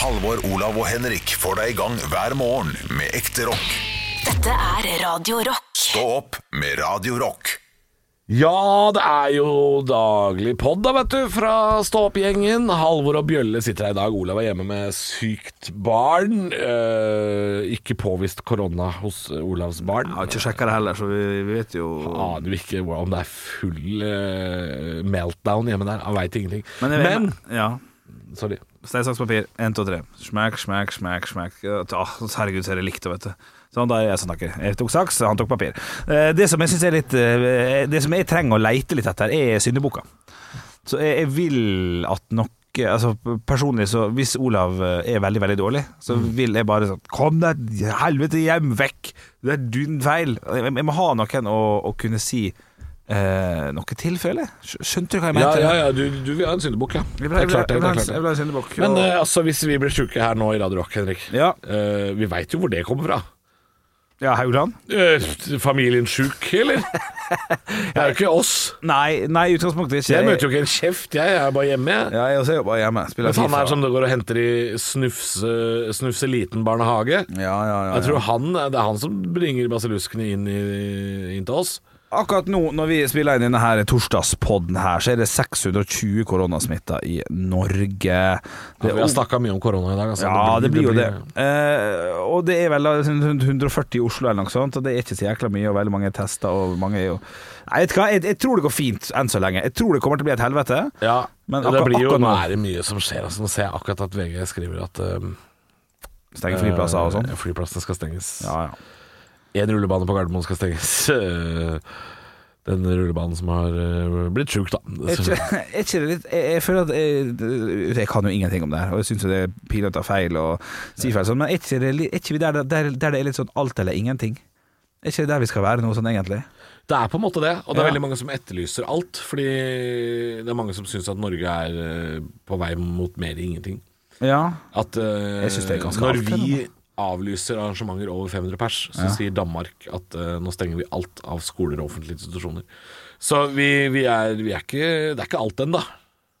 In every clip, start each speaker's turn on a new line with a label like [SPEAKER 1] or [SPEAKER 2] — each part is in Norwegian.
[SPEAKER 1] Halvor, Olav og Henrik får deg i gang hver morgen med ekte rock.
[SPEAKER 2] Dette er Radio Rock.
[SPEAKER 1] Stå opp med Radio Rock.
[SPEAKER 3] Ja, det er jo daglig pod, da, vet du, fra Stå-opp-gjengen. Halvor og Bjølle sitter her i dag. Olav er hjemme med sykt barn. Eh, ikke påvist korona hos Olavs barn.
[SPEAKER 4] Jeg har ikke sjekka det heller, så vi, vi vet jo
[SPEAKER 3] Aner jo ikke hvor- om det er full eh, meltdown hjemme der. Han veit ingenting.
[SPEAKER 4] Men, jeg,
[SPEAKER 3] Men
[SPEAKER 4] Ja.
[SPEAKER 3] Sorry.
[SPEAKER 4] Stein, saks, papir. Én, to, tre. Smekk, smekk, smekk. smekk. Ja, ta- ah, herregud, så er det likt, vet du. Sånn, da er jeg som snakker. Jeg tok saks, han tok papir. Eh, Det som jeg synes er litt eh, Det som jeg trenger å leite litt etter, er syndebukker. Så jeg, jeg vil at noe Altså Personlig, så hvis Olav eh, er veldig, veldig dårlig, så
[SPEAKER 3] Mm.
[SPEAKER 4] vil jeg bare sånn Kom deg helvete hjem! Vekk! Det er din feil! Jeg, jeg må ha noen å, å kunne si eh, noe til, føler jeg. Skj- Skjønte du hva jeg
[SPEAKER 3] Ja,
[SPEAKER 4] mente?
[SPEAKER 3] ja, ja, du, du vil ha en syndebukk, ja.
[SPEAKER 4] Jeg
[SPEAKER 3] Det
[SPEAKER 4] vil
[SPEAKER 3] er
[SPEAKER 4] ha- jeg vil ha-
[SPEAKER 3] klart det. det
[SPEAKER 4] jeg
[SPEAKER 3] er
[SPEAKER 4] vil ha en-
[SPEAKER 3] klart
[SPEAKER 4] jeg
[SPEAKER 3] det.
[SPEAKER 4] vil ha en syndebukk.
[SPEAKER 3] Men
[SPEAKER 4] og-
[SPEAKER 3] eh, altså, hvis vi blir sjuke her nå i Radio Rock, Henrik
[SPEAKER 4] Ja.
[SPEAKER 3] eh, Vi veit jo hvor det kommer fra.
[SPEAKER 4] Ja, Haugland?
[SPEAKER 3] Eh, familien sjuk, eller? Det er jo ikke oss.
[SPEAKER 4] Nei, nei, i utgangspunktet ikke.
[SPEAKER 3] Jeg møter jo ikke en kjeft, jeg. Jeg er bare hjemme, jeg.
[SPEAKER 4] Ja, jeg også jobber hjemme. Spiller
[SPEAKER 3] Mens han
[SPEAKER 4] FIFA.
[SPEAKER 3] er som det går og henter i snufse, snufse liten barnehage.
[SPEAKER 4] ja, ja, ja,
[SPEAKER 3] sånn- Jeg tror
[SPEAKER 4] ja.
[SPEAKER 3] han, Det er han som bringer basilluskene inn, i- inn til oss.
[SPEAKER 4] Akkurat nå, når vi spiller inn denne her torsdagspodden her, så er det 620 koronasmitta i Norge.
[SPEAKER 3] Ja, vi har snakka mye om korona i dag. Altså.
[SPEAKER 4] ja, det blir jo det. Eh, og det er vel da rundt 140 i Oslo eller noe sånt, og det er ikke så jækla mye, og veldig mange er testa, og mange er jo Nei, vet du hva, jeg, jeg tror det går fint enn så lenge. Jeg tror det kommer til å bli et helvete.
[SPEAKER 3] Ja,
[SPEAKER 4] Men
[SPEAKER 3] det
[SPEAKER 4] akkur-
[SPEAKER 3] blir jo, nå
[SPEAKER 4] akkurat nå-
[SPEAKER 3] er det mye som skjer. Altså. Nå ser jeg akkurat at VG skriver at um,
[SPEAKER 4] Stenge flyplasser og sånn.
[SPEAKER 3] eh, Flyplassene skal stenges.
[SPEAKER 4] Ja, ja.
[SPEAKER 3] Én rullebane på Gardermoen skal stenges. Eh, Den rullebanen som har eh, blitt sjuk, da.
[SPEAKER 4] Er ikke, er ikke det litt jeg, jeg føler at jeg, jeg kan jo ingenting om det her, og jeg syns det er pinlig å ta feil og si feil, sånn, men er ikke, det, li- er ikke vi der, der, der det er litt sånn alt eller ingenting? Er ikke det der vi skal være nå, sånn egentlig?
[SPEAKER 3] Det er på en måte det, og det er
[SPEAKER 4] Ja.
[SPEAKER 3] veldig mange som etterlyser alt. Fordi det er mange som syns at Norge er eh, på vei mot mer ingenting.
[SPEAKER 4] Ja.
[SPEAKER 3] At eh,
[SPEAKER 4] Jeg synes det er ganske
[SPEAKER 3] når
[SPEAKER 4] alt, det,
[SPEAKER 3] vi avlyser arrangementer over 500 pers, så sier Danmark at eh, nå stenger vi alt av skoler og offentlige institusjoner. Så vi, vi, er, vi er ikke Det er ikke alt ennå.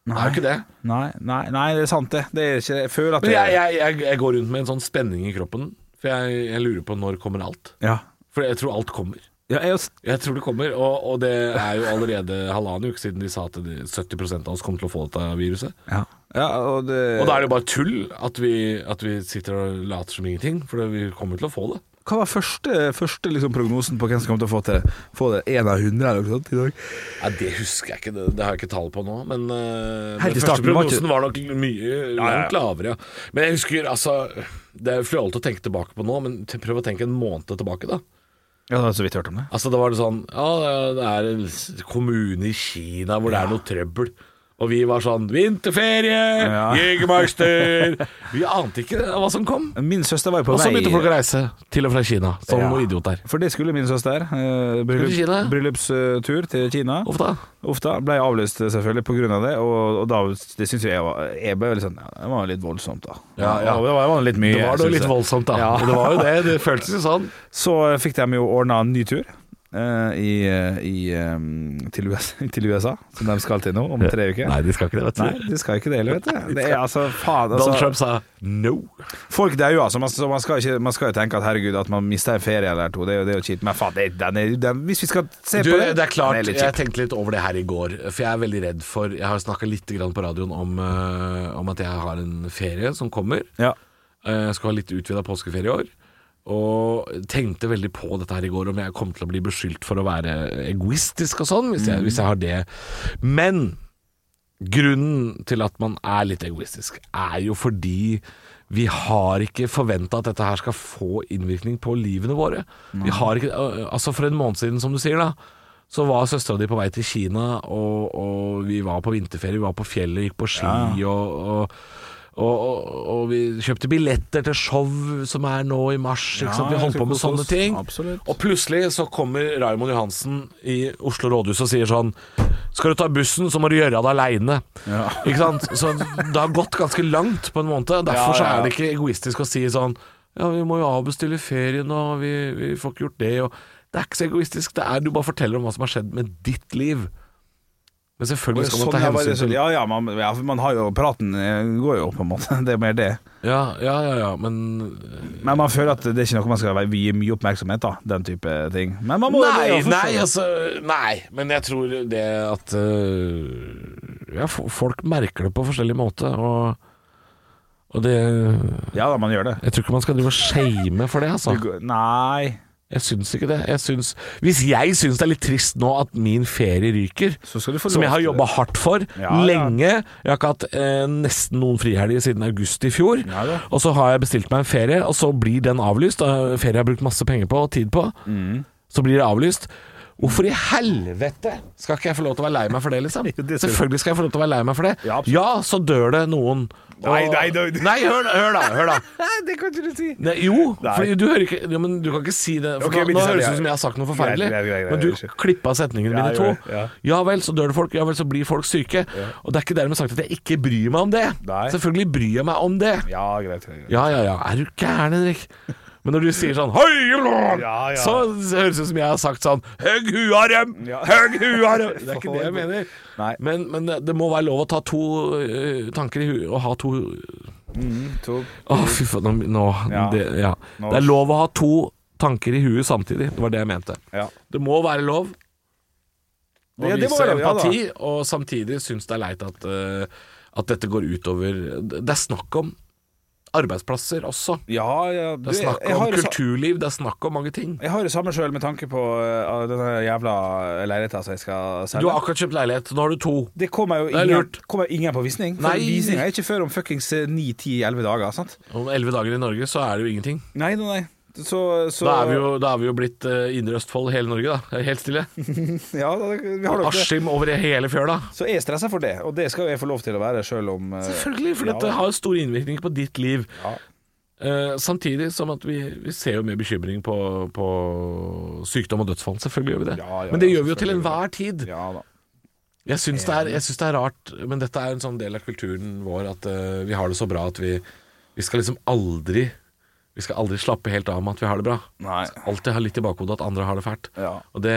[SPEAKER 3] Det er jo ikke det.
[SPEAKER 4] Nei, nei, nei, det er sant, det. Det er ikke Jeg føler at
[SPEAKER 3] Men
[SPEAKER 4] det
[SPEAKER 3] jeg, jeg, jeg, jeg går rundt med en sånn spenning i kroppen, for jeg, jeg lurer på når kommer alt.
[SPEAKER 4] Ja.
[SPEAKER 3] For jeg tror alt kommer.
[SPEAKER 4] ja jeg, også-
[SPEAKER 3] Jeg tror det kommer, og, og det er jo allerede halvannen uke siden de sa at de- 70 av oss kommer til å få dette viruset.
[SPEAKER 4] ja. ja, og det
[SPEAKER 3] Og da er det jo bare tull at vi, at vi sitter og later som ingenting, for vi kommer til å få det.
[SPEAKER 4] Hva var første, første liksom prognosen på hvem som kommer til å få, til, få det? Én av hundre eller noe sånt i dag?
[SPEAKER 3] Ja, Det husker jeg ikke, det, det har jeg ikke tall på nå. Men eh, den
[SPEAKER 4] Helt i
[SPEAKER 3] første
[SPEAKER 4] starten var ikke-
[SPEAKER 3] prognosen var nok mye langt lavere. Ja. Men jeg husker, altså Det er fjollete å tenke tilbake på nå, men te- prøv å tenke en måned tilbake, da.
[SPEAKER 4] Ja, det har jeg så vidt hørt om det.
[SPEAKER 3] Altså, da var det sånn Ja, det er en s- kommune i Kina hvor det er noe trøbbel. Og vi var sånn Vinterferie!
[SPEAKER 4] Ja.
[SPEAKER 3] Jegermeister! Vi ante ikke hva som kom.
[SPEAKER 4] Min søster var jo på
[SPEAKER 3] Og så
[SPEAKER 4] vei
[SPEAKER 3] begynte folk å reise til og fra Kina, som
[SPEAKER 4] Ja.
[SPEAKER 3] noen idioter.
[SPEAKER 4] For det skulle min søster. Eh, bryllup,
[SPEAKER 3] Kina, ja.
[SPEAKER 4] bryllupstur til Kina.
[SPEAKER 3] Uff da.
[SPEAKER 4] Ofte ble jeg avlyst selvfølgelig på grunn av det, og, og da det synes jeg var Jeg ble veldig sånn ja, Det var litt voldsomt, da.
[SPEAKER 3] Ja, ja.
[SPEAKER 4] Det var, det var litt mye.
[SPEAKER 3] Det var da
[SPEAKER 4] synes
[SPEAKER 3] litt
[SPEAKER 4] jeg.
[SPEAKER 3] voldsomt, da.
[SPEAKER 4] Ja.
[SPEAKER 3] Og det var jo det. Det føltes jo sånn.
[SPEAKER 4] Så eh, fikk de jo ordna en ny tur. eh, i, i, eh, til, USA, til USA, som de skal til nå, om tre uker.
[SPEAKER 3] Nei, de skal ikke det, vet du.
[SPEAKER 4] Nei, de skal ikke det heller, vet du. Det er altså faen
[SPEAKER 3] Donald
[SPEAKER 4] altså,
[SPEAKER 3] Trump sa no.
[SPEAKER 4] Folk dauer, altså. Man, så man, skal ikke, man skal jo tenke at herregud, at man mister en ferie eller to, det er jo, det er jo kjipt. Men faen, det, den er, den, hvis vi skal se
[SPEAKER 3] Du,
[SPEAKER 4] på det
[SPEAKER 3] det er klart,
[SPEAKER 4] den litt
[SPEAKER 3] jeg
[SPEAKER 4] kjip.
[SPEAKER 3] tenkte litt over det her i går, for jeg er veldig redd for Jeg har snakka litt grann på radioen om, eh, om at jeg har en ferie som kommer.
[SPEAKER 4] Ja.
[SPEAKER 3] Eh, Jeg skal ha litt utvida påskeferie i år. Og tenkte veldig på dette her i går, om jeg kom til å bli beskyldt for å være egoistisk og sånn, hvis, jeg- hvis jeg har det. Men grunnen til at man er litt egoistisk, er jo fordi vi har ikke forventa at dette her skal få innvirkning på livene våre. Vi har ikke, øh, altså For en måned siden, som du sier, da så var søstera di på vei til Kina, og, og vi var på vinterferie, vi var på fjellet, gikk på ski og, og og, og, og vi kjøpte billetter til show som er nå i mars.
[SPEAKER 4] Ja,
[SPEAKER 3] ikke sant? Vi
[SPEAKER 4] jeg
[SPEAKER 3] holdt
[SPEAKER 4] skal
[SPEAKER 3] på med
[SPEAKER 4] kose
[SPEAKER 3] sånne
[SPEAKER 4] oss.
[SPEAKER 3] ting.
[SPEAKER 4] Absolutt.
[SPEAKER 3] Og plutselig så kommer Raymond Johansen i Oslo rådhus og sier sånn Skal du ta bussen, så må du gjøre det aleine.
[SPEAKER 4] Ja.
[SPEAKER 3] Ikke sant? Så det har gått ganske langt på en måned. Derfor
[SPEAKER 4] Ja,
[SPEAKER 3] så
[SPEAKER 4] ja, ja.
[SPEAKER 3] er det ikke egoistisk å si sånn Ja, vi må jo avbestille ferien, og vi, vi får ikke gjort det, og Det er ikke så egoistisk. Det er du bare forteller om hva som har skjedd med ditt liv. Men selvfølgelig skal man
[SPEAKER 4] Sånn,
[SPEAKER 3] ta
[SPEAKER 4] ja, bare
[SPEAKER 3] hensyn
[SPEAKER 4] sånn,
[SPEAKER 3] til
[SPEAKER 4] ja, ja, man, ja, for man har jo Praten eh, går jo på en måte. Det er mer det.
[SPEAKER 3] Ja, ja, ja, ja, men
[SPEAKER 4] Men man føler at det er ikke noe man skal være- vie mye oppmerksomhet, da. Den type ting. Men man må
[SPEAKER 3] Nei,
[SPEAKER 4] jo det,
[SPEAKER 3] nei, altså Nei, men jeg tror det at øh, Ja, fo- folk merker det på forskjellig måte, og, og det Jeg
[SPEAKER 4] Ja da, man gjør det.
[SPEAKER 3] tror ikke man skal drive og shame for det, altså.
[SPEAKER 4] Du går- Nei,
[SPEAKER 3] Jeg syns ikke det. Jeg syns, hvis jeg syns det er litt trist nå at min ferie ryker,
[SPEAKER 4] så skal du få
[SPEAKER 3] som
[SPEAKER 4] lov
[SPEAKER 3] jeg har
[SPEAKER 4] til
[SPEAKER 3] jobba hardt for
[SPEAKER 4] Ja, ja.
[SPEAKER 3] lenge Jeg har ikke hatt eh, nesten noen frihelger siden august i fjor.
[SPEAKER 4] Ja, da.
[SPEAKER 3] og så har jeg bestilt meg en ferie, og så blir den avlyst. Og ferie jeg har brukt masse penger på og tid på.
[SPEAKER 4] Mm.
[SPEAKER 3] Så blir det avlyst. Hvorfor i helvete skal ikke jeg få lov til å være lei meg for det, liksom?
[SPEAKER 4] Jo, det skal du.
[SPEAKER 3] Selvfølgelig skal jeg få lov til å være lei meg for det.
[SPEAKER 4] Ja, absolutt.
[SPEAKER 3] så dør det noen. Og-
[SPEAKER 4] Nei, nei, nei.
[SPEAKER 3] nei hør, da, hør da! Hør da.
[SPEAKER 4] Nei, det kan ikke du si.
[SPEAKER 3] Nei, jo,
[SPEAKER 4] Nei.
[SPEAKER 3] fordi du hører ikke jo, men Du kan ikke si det. For
[SPEAKER 4] Ok,
[SPEAKER 3] nå, nå
[SPEAKER 4] men det sa
[SPEAKER 3] høres det
[SPEAKER 4] jeg.
[SPEAKER 3] ut som jeg har sagt noe forferdelig.
[SPEAKER 4] Greit, greit, greit, greit,
[SPEAKER 3] men
[SPEAKER 4] unnskyld.
[SPEAKER 3] du klippa setningene
[SPEAKER 4] Ja,
[SPEAKER 3] mine i
[SPEAKER 4] jeg
[SPEAKER 3] to.
[SPEAKER 4] gjorde det, ja.
[SPEAKER 3] Ja vel, så dør det folk. Ja vel, så blir folk syke. Og det er ikke dermed sagt at jeg ikke bryr meg om det.
[SPEAKER 4] Nei.
[SPEAKER 3] Selvfølgelig bryr jeg meg om det.
[SPEAKER 4] Ja, greit. greit, greit.
[SPEAKER 3] Ja, ja, ja. Er du gæren, Henrik? Men når du sier sånn Hei, lord!
[SPEAKER 4] Ja, ja.
[SPEAKER 3] Så høres det ut som jeg har sagt sånn Høgg hua dem!
[SPEAKER 4] Ja.
[SPEAKER 3] Høgg hua dem! Det er ikke det jeg mener.
[SPEAKER 4] Nei.
[SPEAKER 3] Men, men det- det må være lov å ta to øh, tanker i huet og ha to
[SPEAKER 4] To.
[SPEAKER 3] Å, fy faen. Nå, nå,
[SPEAKER 4] Ja.
[SPEAKER 3] Det, ja.
[SPEAKER 4] Nå-
[SPEAKER 3] det er lov å ha to tanker i huet samtidig. Det var det jeg mente.
[SPEAKER 4] Ja.
[SPEAKER 3] Det må være lov å
[SPEAKER 4] Ja, det må
[SPEAKER 3] vise
[SPEAKER 4] være lov, ja da.
[SPEAKER 3] empati, og samtidig synes det er leit at, eh, at dette går utover Det er snakk om arbeidsplasser også.
[SPEAKER 4] Ja, ja.
[SPEAKER 3] Det er snakk om kulturliv, det er snakk om mange ting.
[SPEAKER 4] Jeg har det samme sjøl med tanke på eh, denne jævla leiligheta som jeg skal
[SPEAKER 3] Du
[SPEAKER 4] selge.
[SPEAKER 3] har akkurat kjøpt leilighet, nå har du to.
[SPEAKER 4] det kommer jo
[SPEAKER 3] er
[SPEAKER 4] ingen,
[SPEAKER 3] lurt.
[SPEAKER 4] kommer ingen på visning. For
[SPEAKER 3] Nei.
[SPEAKER 4] Visninga er ikke før om fuckings eh, 9-10-11 dager. sant?
[SPEAKER 3] Om elleve dager i Norge så er det jo ingenting.
[SPEAKER 4] Nei, nei, nei. Så, så
[SPEAKER 3] Da er vi jo, da er vi jo blitt eh, Indre Østfold, hele Norge, da. Det er Helt stille.
[SPEAKER 4] Ja, da, vi har nok det.
[SPEAKER 3] Askim over hele fjøla.
[SPEAKER 4] Så jeg er stressa for det, og det skal jo jeg få lov til å være sjøl om eh,
[SPEAKER 3] Selvfølgelig, for
[SPEAKER 4] ja,
[SPEAKER 3] dette
[SPEAKER 4] da.
[SPEAKER 3] har stor innvirkning på ditt liv.
[SPEAKER 4] Ja.
[SPEAKER 3] Eh, samtidig som at vi, vi ser jo med bekymring på, på sykdom og dødsfall. Selvfølgelig gjør vi det.
[SPEAKER 4] Ja, ja,
[SPEAKER 3] men det
[SPEAKER 4] ja,
[SPEAKER 3] gjør vi jo til
[SPEAKER 4] selvfølgelig.
[SPEAKER 3] enhver tid.
[SPEAKER 4] Ja da.
[SPEAKER 3] Jeg syns det, er- jeg syns det er rart, men dette er en sånn del av kulturen vår at eh, vi har det så bra at vi, vi skal liksom aldri Vi skal aldri slappe helt av med at vi har det bra.
[SPEAKER 4] Nei.
[SPEAKER 3] Alltid ha litt i bakhodet at andre har det fælt.
[SPEAKER 4] Ja.
[SPEAKER 3] Og det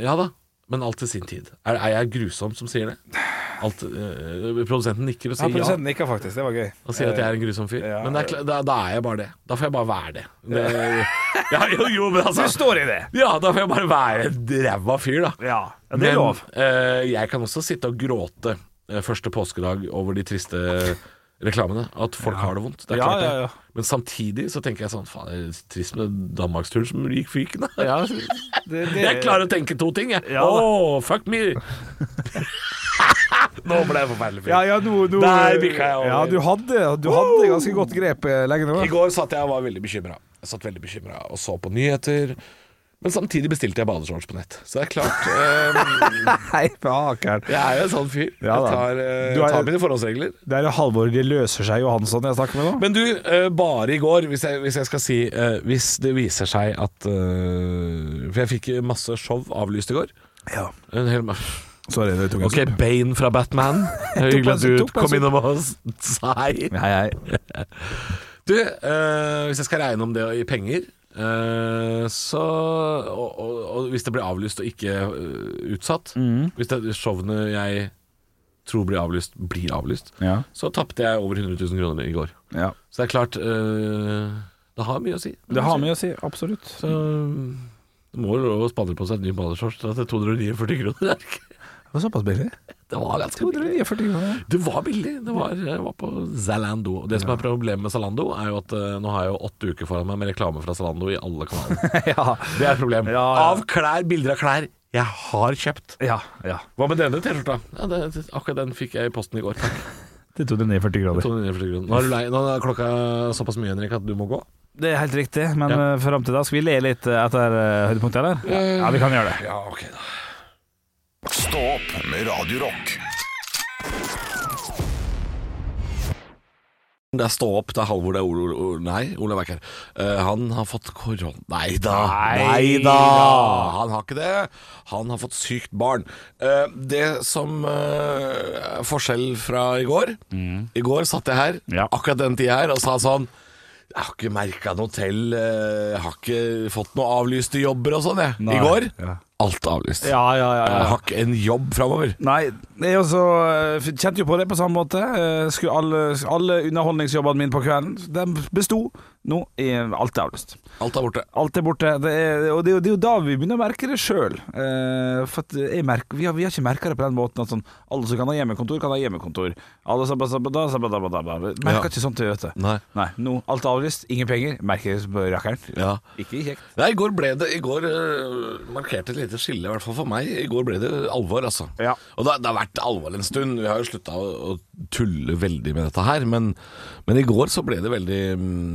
[SPEAKER 3] Ja da, men alt til sin tid. Er, er jeg grusom som sier det? Alt, eh, produsenten nikker og
[SPEAKER 4] Ja,
[SPEAKER 3] sier ja.
[SPEAKER 4] Produsenten nikka faktisk, det var gøy.
[SPEAKER 3] Og sier at jeg er en grusom fyr.
[SPEAKER 4] Ja.
[SPEAKER 3] Men det er, kla- da, da er jeg bare det. Da får jeg bare være det. det ja, jo, jo, men
[SPEAKER 4] Du
[SPEAKER 3] altså
[SPEAKER 4] står i det!
[SPEAKER 3] Ja, da får jeg bare være en ræva fyr, da.
[SPEAKER 4] Ja, det er
[SPEAKER 3] Men
[SPEAKER 4] lov.
[SPEAKER 3] eh, jeg kan også sitte og gråte eh, første påskedag over de triste reklamene. At folk har det vondt. Det er
[SPEAKER 4] Ja,
[SPEAKER 3] klart det.
[SPEAKER 4] ja, ja.
[SPEAKER 3] Men samtidig så tenker jeg sånn Faen, det er trist med danmarksturen som gikk fyken. da."
[SPEAKER 4] Det, det,
[SPEAKER 3] Jeg klarer å tenke to ting, jeg. Å,
[SPEAKER 4] Ja, da.
[SPEAKER 3] fuck me! Nå ble jeg forferdelig fyr.
[SPEAKER 4] Ja, ja, nå, nå
[SPEAKER 3] Der bikka jeg over.
[SPEAKER 4] Ja, du hadde, du hadde ganske godt grep eh, lenge nå.
[SPEAKER 3] I går satt jeg og var veldig bekymra. Jeg satt veldig bekymra og så på nyheter. Men samtidig bestilte jeg badeshorts på nett. Så det er klart. eh,
[SPEAKER 4] Nei, fakkeren.
[SPEAKER 3] jeg er jo en sånn fyr.
[SPEAKER 4] Ja da.
[SPEAKER 3] jeg tar, eh,
[SPEAKER 4] Du er-
[SPEAKER 3] tar mine forholdsregler.
[SPEAKER 4] Det er jo Halvor det løser seg Johansson jeg snakker med nå.
[SPEAKER 3] Men du, eh, bare i går, hvis jeg, hvis jeg skal si eh, Hvis det viser seg at eh, For jeg fikk masse show avlyst i går.
[SPEAKER 4] Ja.
[SPEAKER 3] En hel ma-
[SPEAKER 4] Sorry, det tok en
[SPEAKER 3] Ok,
[SPEAKER 4] stund.
[SPEAKER 3] Bane fra Batman. Hyggelig at du
[SPEAKER 4] Tok meg en
[SPEAKER 3] kom
[SPEAKER 4] stund.
[SPEAKER 3] innom og sa hei.
[SPEAKER 4] Hei, hei.
[SPEAKER 3] Du, eh, hvis jeg skal regne om det i penger eh, så, og, og, og hvis det blir avlyst og ikke eh, utsatt
[SPEAKER 4] Mm.
[SPEAKER 3] Hvis det showene jeg tror blir avlyst, blir avlyst
[SPEAKER 4] Ja.
[SPEAKER 3] Så tappte jeg over 100 000 kroner i går
[SPEAKER 4] ja.
[SPEAKER 3] Så det er klart eh, Det har mye å si
[SPEAKER 4] Det har mye å si, absolutt.
[SPEAKER 3] Så det må jo lov å spadre på seg en ny badershorts til 249 kroner er det ikke?
[SPEAKER 4] Det var såpass billig.
[SPEAKER 3] Det var ganske billig
[SPEAKER 4] 249 kroner.
[SPEAKER 3] det var billig. Det var, jeg var på Zalando. Og Det som er problemet med Zalando, er jo at eh, nå har jeg jo åtte uker foran meg med reklame fra Zalando i alle kanaler.
[SPEAKER 4] Ja.
[SPEAKER 3] Det er et problem.
[SPEAKER 4] Ja, ja.
[SPEAKER 3] Av klær, bilder av klær jeg har kjøpt.
[SPEAKER 4] Ja, ja.
[SPEAKER 3] Hva med denne T-skjorta? Ja, det- det- akkurat den fikk jeg i posten i går. Takk.
[SPEAKER 4] Det tok 49 kroner.
[SPEAKER 3] 249 kroner. Nå er du lei. Nå er klokka såpass mye, Henrik, at du må gå.
[SPEAKER 4] Det er helt riktig, men
[SPEAKER 3] Ja.
[SPEAKER 4] eh, fram til da skal vi le litt eh, etter eh, høydepunktet, eller?
[SPEAKER 3] Eh.
[SPEAKER 4] Ja, vi kan gjøre det.
[SPEAKER 3] Ja, ok da.
[SPEAKER 1] Stå opp med Radio Rock.
[SPEAKER 3] Det er Stå opp, det er Halvor, det er Ol... Ol nei, Olav er ikke her. Eh, han har fått korona... Nei da!
[SPEAKER 4] Nei da.
[SPEAKER 3] Han har ikke det. Han har fått sykt barn. Eh, det som eh, er forskjell fra i går I går satt jeg her,
[SPEAKER 4] Mm. Ja.
[SPEAKER 3] akkurat den tida her, og sa sånn Jeg har ikke merka noe til. eh, Jeg har ikke fått noe avlyste jobber og sånn, jeg.
[SPEAKER 4] Nei.
[SPEAKER 3] I går.
[SPEAKER 4] Ja.
[SPEAKER 3] alt avlyst.
[SPEAKER 4] Ja, ja, ja,
[SPEAKER 3] Jeg
[SPEAKER 4] ja.
[SPEAKER 3] har ikke en jobb framover.
[SPEAKER 4] Nei, jeg også eh, f- kjente jo på det på samme måte. Eh, Skulle alle, alle underholdningsjobbene mine på kvelden, de besto. Nå er alt avlyst.
[SPEAKER 3] Alt er borte.
[SPEAKER 4] Alt er borte. Det er, og det er, jo- det er jo da vi begynner å merke det sjøl. For at jeg merker, vi, har, vi har ikke merka det på den måten at sånn, alle som kan ha hjemmekontor, kan ha hjemmekontor. Alle som sabada, sabada, sabada, Merker
[SPEAKER 3] Ja.
[SPEAKER 4] ikke sånt, vet du.
[SPEAKER 3] Nei.
[SPEAKER 4] Nei, nå, alt er avlyst, ingen penger. Merker det på rakkeren.
[SPEAKER 3] Ja.
[SPEAKER 4] Ikke kjekt.
[SPEAKER 3] Nei, i går ble det I går øh, markerte et lite skille, i hvert fall for meg. I går ble det alvor, altså.
[SPEAKER 4] Ja.
[SPEAKER 3] Og det, det har vært alvor en stund. Vi har jo slutta å, å tulle veldig med dette her, men, men i går så ble det veldig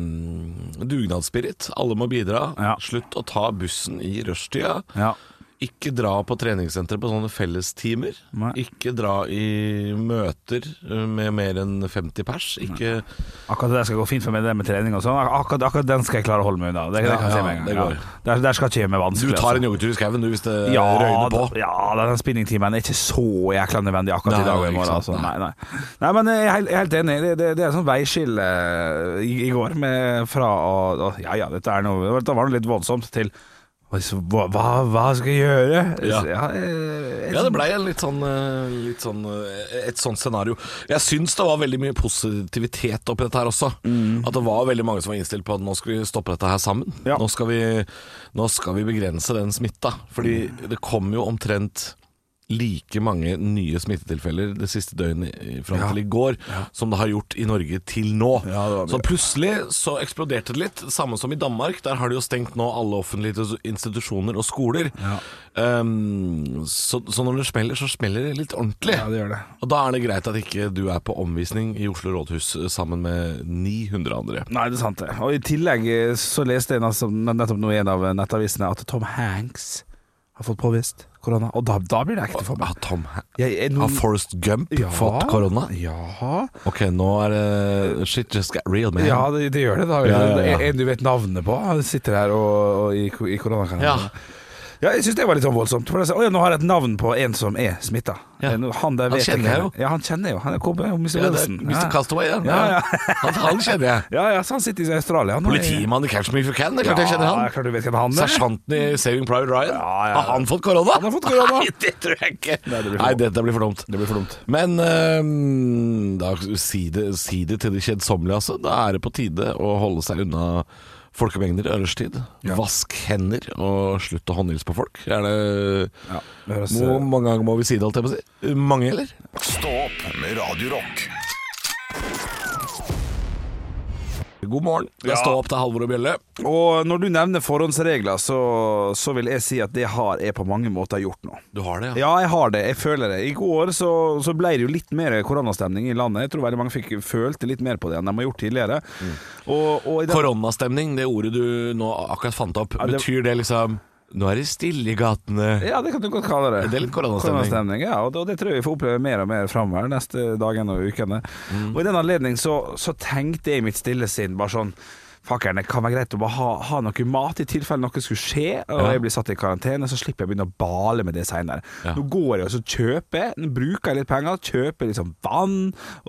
[SPEAKER 3] mm, dugnadsspirit. Alle må bidra.
[SPEAKER 4] Ja.
[SPEAKER 3] Slutt å ta bussen i rushtida.
[SPEAKER 4] Ja.
[SPEAKER 3] Ikke dra på treningssenter på sånne fellestimer.
[SPEAKER 4] Nei.
[SPEAKER 3] Ikke dra i møter øh, med mer enn 50 pers. Ikke
[SPEAKER 4] Akkurat det der skal gå fint for meg, det med trening og sånn. Akkurat, akkurat den skal jeg klare å holde meg unna. Det, det
[SPEAKER 3] Ja,
[SPEAKER 4] kan jeg si
[SPEAKER 3] ja,
[SPEAKER 4] med en gang.
[SPEAKER 3] det går.
[SPEAKER 4] Ja. Der, der skal ikke gjøre meg
[SPEAKER 3] Du
[SPEAKER 4] vanskelig.
[SPEAKER 3] tar en
[SPEAKER 4] altså.
[SPEAKER 3] joggetur i skauen du, hvis det
[SPEAKER 4] ja,
[SPEAKER 3] eh, røyner på.
[SPEAKER 4] da- ja, da, den spinningtimen er ikke så jækla nødvendig akkurat
[SPEAKER 3] Nei,
[SPEAKER 4] i dag og i
[SPEAKER 3] ikke
[SPEAKER 4] morgen.
[SPEAKER 3] sant,
[SPEAKER 4] Altså. Nei,
[SPEAKER 3] nei.
[SPEAKER 4] nei. nei, men eh, jeg er helt, jeg er helt enig. Det, det, det er et sånt veiskille eh, i, i går med, fra å å- Ja ja, dette, er noe, dette var noe litt voldsomt, til hva, hva, hva skal jeg gjøre?
[SPEAKER 3] Ja.
[SPEAKER 4] eh, et
[SPEAKER 3] Ja, det blei en litt sånn, eh, litt sånn eh, Et sånt scenario. Jeg syns det var veldig mye positivitet oppi dette her også. At det var veldig mange som var innstilt på at nå skal vi stoppe dette her sammen.
[SPEAKER 4] Mm. Ja.
[SPEAKER 3] Nå, skal vi, nå skal vi begrense den smitta. Fordi
[SPEAKER 4] Mm.
[SPEAKER 3] det kom jo omtrent like mange nye smittetilfeller det siste døgnet i- fram til i går som det har gjort i Norge til nå.
[SPEAKER 4] Ja, det var mye.
[SPEAKER 3] så plutselig så eksploderte det litt. Samme som i Danmark. Der har de jo stengt nå alle offentlige institusjoner og skoler. Um, så, så når det smeller, så smeller det litt ordentlig.
[SPEAKER 4] Ja, det gjør det.
[SPEAKER 3] Og da er det greit at ikke du er på omvisning i Oslo rådhus eh, sammen med 900 andre.
[SPEAKER 4] Nei, det er sant det. Og i tillegg eh, så leste jeg nett- nettopp nå i en av nettavisene at Tom Hanks har fått påvist korona. Og da, da blir det ekte for meg.
[SPEAKER 3] Har Ah, Tom Ha-
[SPEAKER 4] Jeg, jeg,
[SPEAKER 3] Har Forrest Gump
[SPEAKER 4] Mm. Ja.
[SPEAKER 3] fått korona?
[SPEAKER 4] Ja,
[SPEAKER 3] Ok, nå er det Shit just got real, man.
[SPEAKER 4] ja det, det gjør det. da
[SPEAKER 3] Ja, ja, ja.
[SPEAKER 4] En- En du vet navnet på, han sitter her og, og i, ko- i
[SPEAKER 3] Ja.
[SPEAKER 4] koronakarantene. Ja, jeg syns det var litt sånn voldsomt. For det er sånn, «Å ja, nå har jeg et navn på en som er smitta.
[SPEAKER 3] Ja.
[SPEAKER 4] Han der
[SPEAKER 3] Han
[SPEAKER 4] vet
[SPEAKER 3] kjenner jeg
[SPEAKER 4] ikke- Ja, han kjenner jeg jo. Han er kommet,
[SPEAKER 3] Ja, det
[SPEAKER 4] Mr.
[SPEAKER 3] er
[SPEAKER 4] Wilson.
[SPEAKER 3] Mr. Castaway, ja.
[SPEAKER 4] Ja, ja.
[SPEAKER 3] Han, han kjenner jeg.
[SPEAKER 4] Ja, ja, så han sitter i Australia. Han er-
[SPEAKER 3] Politimann i Catch Me If You Can, det er
[SPEAKER 4] Ja,
[SPEAKER 3] klart jeg kjenner
[SPEAKER 4] det er
[SPEAKER 3] han.
[SPEAKER 4] klart du vet hvem han er.
[SPEAKER 3] Sersjanten i Saving Private Ryan,
[SPEAKER 4] Ja, ja.
[SPEAKER 3] har han fått korona?
[SPEAKER 4] Han har fått korona.
[SPEAKER 3] Nei, det tror jeg ikke.
[SPEAKER 4] Nei, det blir for
[SPEAKER 3] Nei,
[SPEAKER 4] dumt.
[SPEAKER 3] dette blir for dumt.
[SPEAKER 4] Det blir for dumt.
[SPEAKER 3] Men øhm, da, si, det, si det til de kjedsommelige, altså. Da er det på tide å holde seg unna folkemengder i rushtid.
[SPEAKER 4] Ja.
[SPEAKER 3] Vask hender og slutt å håndhilse på folk. Er det
[SPEAKER 4] Ja, det høres,
[SPEAKER 3] Hvor mange ganger må vi si det, holdt jeg på å si? Mange, eller?
[SPEAKER 1] Stå opp med Radio Rock.
[SPEAKER 3] God morgen. Det er Stå opp til Halvor og Bjelle.
[SPEAKER 4] Og når du nevner forhåndsregler, så, så vil jeg si at det har jeg på mange måter gjort nå.
[SPEAKER 3] Du har det,
[SPEAKER 4] Ja, jeg har det. Jeg føler det. I går så, så ble det jo litt mer koronastemning i landet. Jeg tror veldig mange fikk følte litt mer på det enn de har gjort tidligere. Og, og i den,
[SPEAKER 3] Koronastemning, det ordet du nå akkurat fant opp,
[SPEAKER 4] det-
[SPEAKER 3] betyr det liksom Nå er det stille i gatene.
[SPEAKER 4] ja, det kan du godt kalle det.
[SPEAKER 3] Det er litt koronastemning.
[SPEAKER 4] Koronastemning, ja, og det, og det tror jeg vi får oppleve mer og mer framover neste dagene og ukene.
[SPEAKER 3] Mm.
[SPEAKER 4] Og i den anledning så, så tenkte jeg i mitt stille sinn bare sånn Fakkeren, det kan være greit å bare ha, ha noe mat i tilfelle noe skulle skje, og
[SPEAKER 3] Ja.
[SPEAKER 4] jeg blir satt i karantene, så slipper jeg å begynne å bale med det seinere.
[SPEAKER 3] Ja.
[SPEAKER 4] Nå går jeg og så kjøper, jeg- nå bruker jeg litt penger, kjøper liksom vann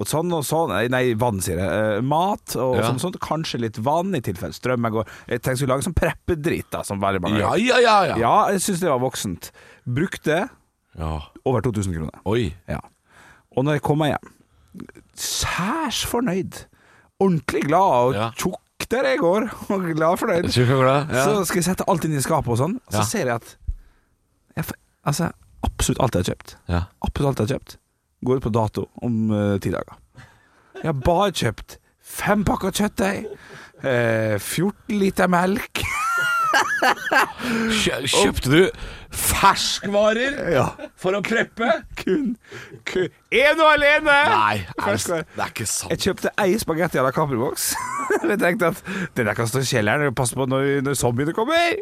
[SPEAKER 4] og sånn og sånn Nei, nei vann, sier jeg. Eh, mat og,
[SPEAKER 3] Ja.
[SPEAKER 4] sånn, sånn. Kanskje litt vann i tilfelle strømmen går. Jeg tenkte jeg skulle lage sånn preppedritt, da, som veldig mange
[SPEAKER 3] Ja, ja, ja. ja.
[SPEAKER 4] ja, jeg syns det var voksent. Brukte
[SPEAKER 3] ja.
[SPEAKER 4] over 2000 kroner.
[SPEAKER 3] Oi.
[SPEAKER 4] Ja. Og når jeg kom meg hjem, særs fornøyd. Ordentlig glad og
[SPEAKER 3] Ja.
[SPEAKER 4] tjukk der jeg går, og glad og fornøyd.
[SPEAKER 3] Tjukk og glad. Ja.
[SPEAKER 4] Så skal jeg sette alt inn i skapet og sånn, og så
[SPEAKER 3] Ja.
[SPEAKER 4] ser jeg at jeg, f- Altså, absolutt alt jeg har kjøpt,
[SPEAKER 3] Ja.
[SPEAKER 4] Absolutt alt jeg har kjøpt, går ut på dato om eh, ti dager. Jeg har bare kjøpt fem pakker kjøttdeig, eh, 14 liter melk
[SPEAKER 3] Kjø kjøpte du ferskvarer for å preppe?
[SPEAKER 4] Kun, kun En og alene!
[SPEAKER 3] Nei, er det,
[SPEAKER 4] Ferskvarer.
[SPEAKER 3] det er ikke
[SPEAKER 4] Jeg
[SPEAKER 3] sant.
[SPEAKER 4] kjøpte ei spagetti à la Capri-boks. jeg tenkte at den der kan stå i kjelleren, pass på når, når zombiene kommer.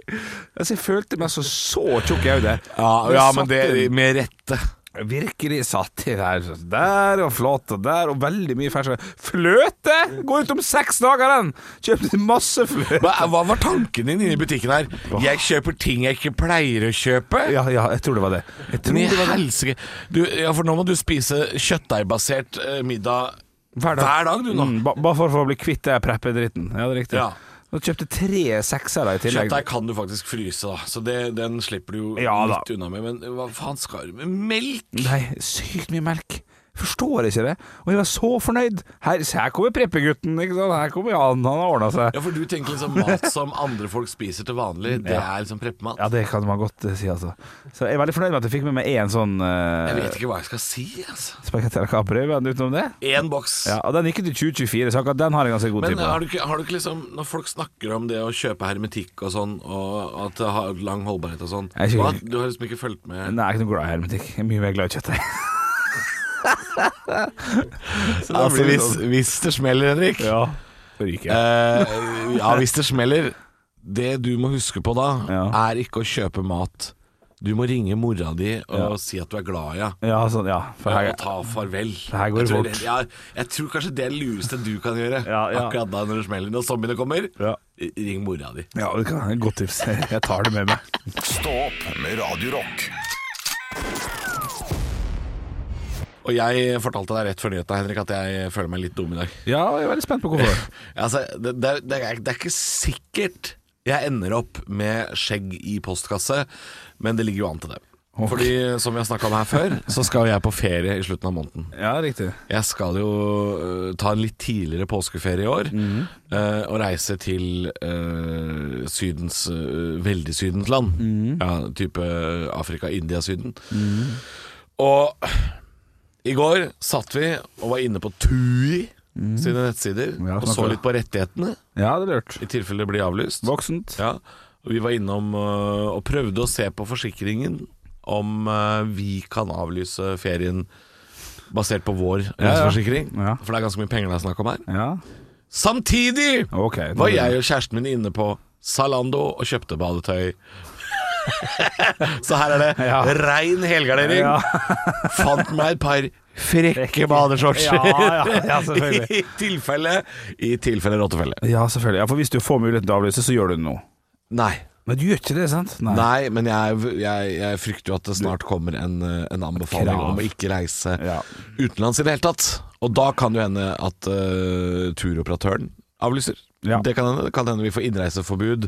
[SPEAKER 4] Altså, jeg følte meg så så tjukk i hodet.
[SPEAKER 3] Ja, ja, men det
[SPEAKER 4] satt inn-
[SPEAKER 3] med rette.
[SPEAKER 4] Virkelig satt i der, så der og flott og der, og veldig mye fersk Fløte! Går ut om seks dager, den! Kjøpte masse fløte.
[SPEAKER 3] Hva, hva var tanken din inne i butikken her? Jeg kjøper ting jeg ikke pleier å kjøpe.
[SPEAKER 4] Ja, ja, jeg tror det var det. Jeg tror
[SPEAKER 3] Men i
[SPEAKER 4] det var det.
[SPEAKER 3] helsike du, ja, For nå må du spise kjøttdeigbasert eh, middag
[SPEAKER 4] Hver dag.
[SPEAKER 3] du nå.
[SPEAKER 4] Mm, ba- Bare for å bli kvitt den preppedritten. Ja, det er riktig.
[SPEAKER 3] Ja.
[SPEAKER 4] Du kjøpte tre seksere i tillegg.
[SPEAKER 3] Kjøttdeig kan du faktisk fryse, da, så det, den slipper du jo
[SPEAKER 4] Ja, da.
[SPEAKER 3] litt unna med. Men hva faen skal du med melk?
[SPEAKER 4] Nei, sykt mye melk. Forstår ikke det. Og jeg var så fornøyd. Her, se, her kommer preppegutten. Ikke sant? Her kommer han, han har ordna seg.
[SPEAKER 3] Ja, for du tenker liksom mat som andre folk spiser til vanlig, det er liksom preppemat.
[SPEAKER 4] Ja, det kan man godt eh, si, altså. Så jeg er veldig fornøyd med at jeg fikk med meg én sånn
[SPEAKER 3] Jeg
[SPEAKER 4] uh,
[SPEAKER 3] vet ikke hva jeg skal si, altså.
[SPEAKER 4] spagetti à la capri, men utenom det
[SPEAKER 3] Én boks.
[SPEAKER 4] ja, Og den gikk til 2024, så akkurat den har jeg ganske god
[SPEAKER 3] Men
[SPEAKER 4] tid på.
[SPEAKER 3] har du, ikke, har du ikke liksom Når folk snakker om det å kjøpe hermetikk og sånn, og at det har lang holdbarhet og sånn
[SPEAKER 4] Jeg er ikke-
[SPEAKER 3] hva? Du har liksom ikke fulgt med?
[SPEAKER 4] Nei, jeg er ikke noe glad i hermetikk. Jeg er mye mer glad i kjøttdeig. Så da blir det sånn.
[SPEAKER 3] det sånn. smeller, Henrik
[SPEAKER 4] Ja, så ryker jeg.
[SPEAKER 3] eh, Ja, hvis det smeller Det du må huske på da,
[SPEAKER 4] Ja.
[SPEAKER 3] er ikke å kjøpe mat. Du må ringe mora di og si at du er glad i henne.
[SPEAKER 4] Ja, sånn, ja. For her,
[SPEAKER 3] Og ta farvel.
[SPEAKER 4] her går
[SPEAKER 3] jeg tror,
[SPEAKER 4] det fort.
[SPEAKER 3] ja, jeg tror kanskje det er det lureste du kan gjøre
[SPEAKER 4] Ja, ja.
[SPEAKER 3] akkurat da når det smeller. Når zombiene kommer,
[SPEAKER 4] Ja.
[SPEAKER 3] ring mora di.
[SPEAKER 4] ja, det kan godt tips. Jeg tar det med meg.
[SPEAKER 1] Stå opp med Radio Rock.
[SPEAKER 3] Og jeg fortalte deg rett før nyheten, Henrik, at jeg føler meg litt dum i dag.
[SPEAKER 4] Ja, jeg er veldig spent på hvorfor.
[SPEAKER 3] Altså, det, det, er- det, er, det er ikke sikkert jeg ender opp med skjegg i postkasse, men det ligger jo an til det. Fordi, som vi har snakka om her før, så skal jeg på ferie i slutten av måneden.
[SPEAKER 4] Ja, riktig.
[SPEAKER 3] Jeg skal jo øh, ta en litt tidligere påskeferie i år øh, og reise til øh, Sydens øh, veldig Sydens land. Ja, type øh, Afrika, India, Syden. Og i går satt vi og var inne på TUI sine nettsider
[SPEAKER 4] Ja,
[SPEAKER 3] og
[SPEAKER 4] snakker
[SPEAKER 3] så
[SPEAKER 4] du.
[SPEAKER 3] litt på rettighetene,
[SPEAKER 4] Ja, det er lurt.
[SPEAKER 3] i tilfelle det blir avlyst.
[SPEAKER 4] Voksent.
[SPEAKER 3] Ja, og vi var innom øh, og prøvde å se på forsikringen om øh, vi kan avlyse ferien basert på vår reiseforsikring.
[SPEAKER 4] Ja.
[SPEAKER 3] For det er ganske mye penger det er snakk om her.
[SPEAKER 4] Ja,
[SPEAKER 3] Samtidig
[SPEAKER 4] ok.
[SPEAKER 3] var jeg og kjæresten min inne på Zalando og kjøpte badetøy. Så her er det
[SPEAKER 4] Ja.
[SPEAKER 3] rein helgardering.
[SPEAKER 4] Ja.
[SPEAKER 3] Fant meg et par frekke badeshortser.
[SPEAKER 4] Ja, ja, ja, selvfølgelig.
[SPEAKER 3] I tilfelle I tilfelle rottefelle.
[SPEAKER 4] Ja, selvfølgelig. Ja, for hvis du får muligheten til å avlyse, så gjør du det nå.
[SPEAKER 3] Nei.
[SPEAKER 4] Men du gjør ikke det, sant?
[SPEAKER 3] Nei, men jeg, jeg, jeg frykter jo at det snart kommer en, eh, en anbefaling
[SPEAKER 4] Krav.
[SPEAKER 3] om å ikke reise
[SPEAKER 4] Ja.
[SPEAKER 3] utenlands i det hele tatt. Og da kan det jo hende at eh, turoperatøren avlyser.
[SPEAKER 4] Ja.
[SPEAKER 3] Det kan hende. Det kan hende vi får innreiseforbud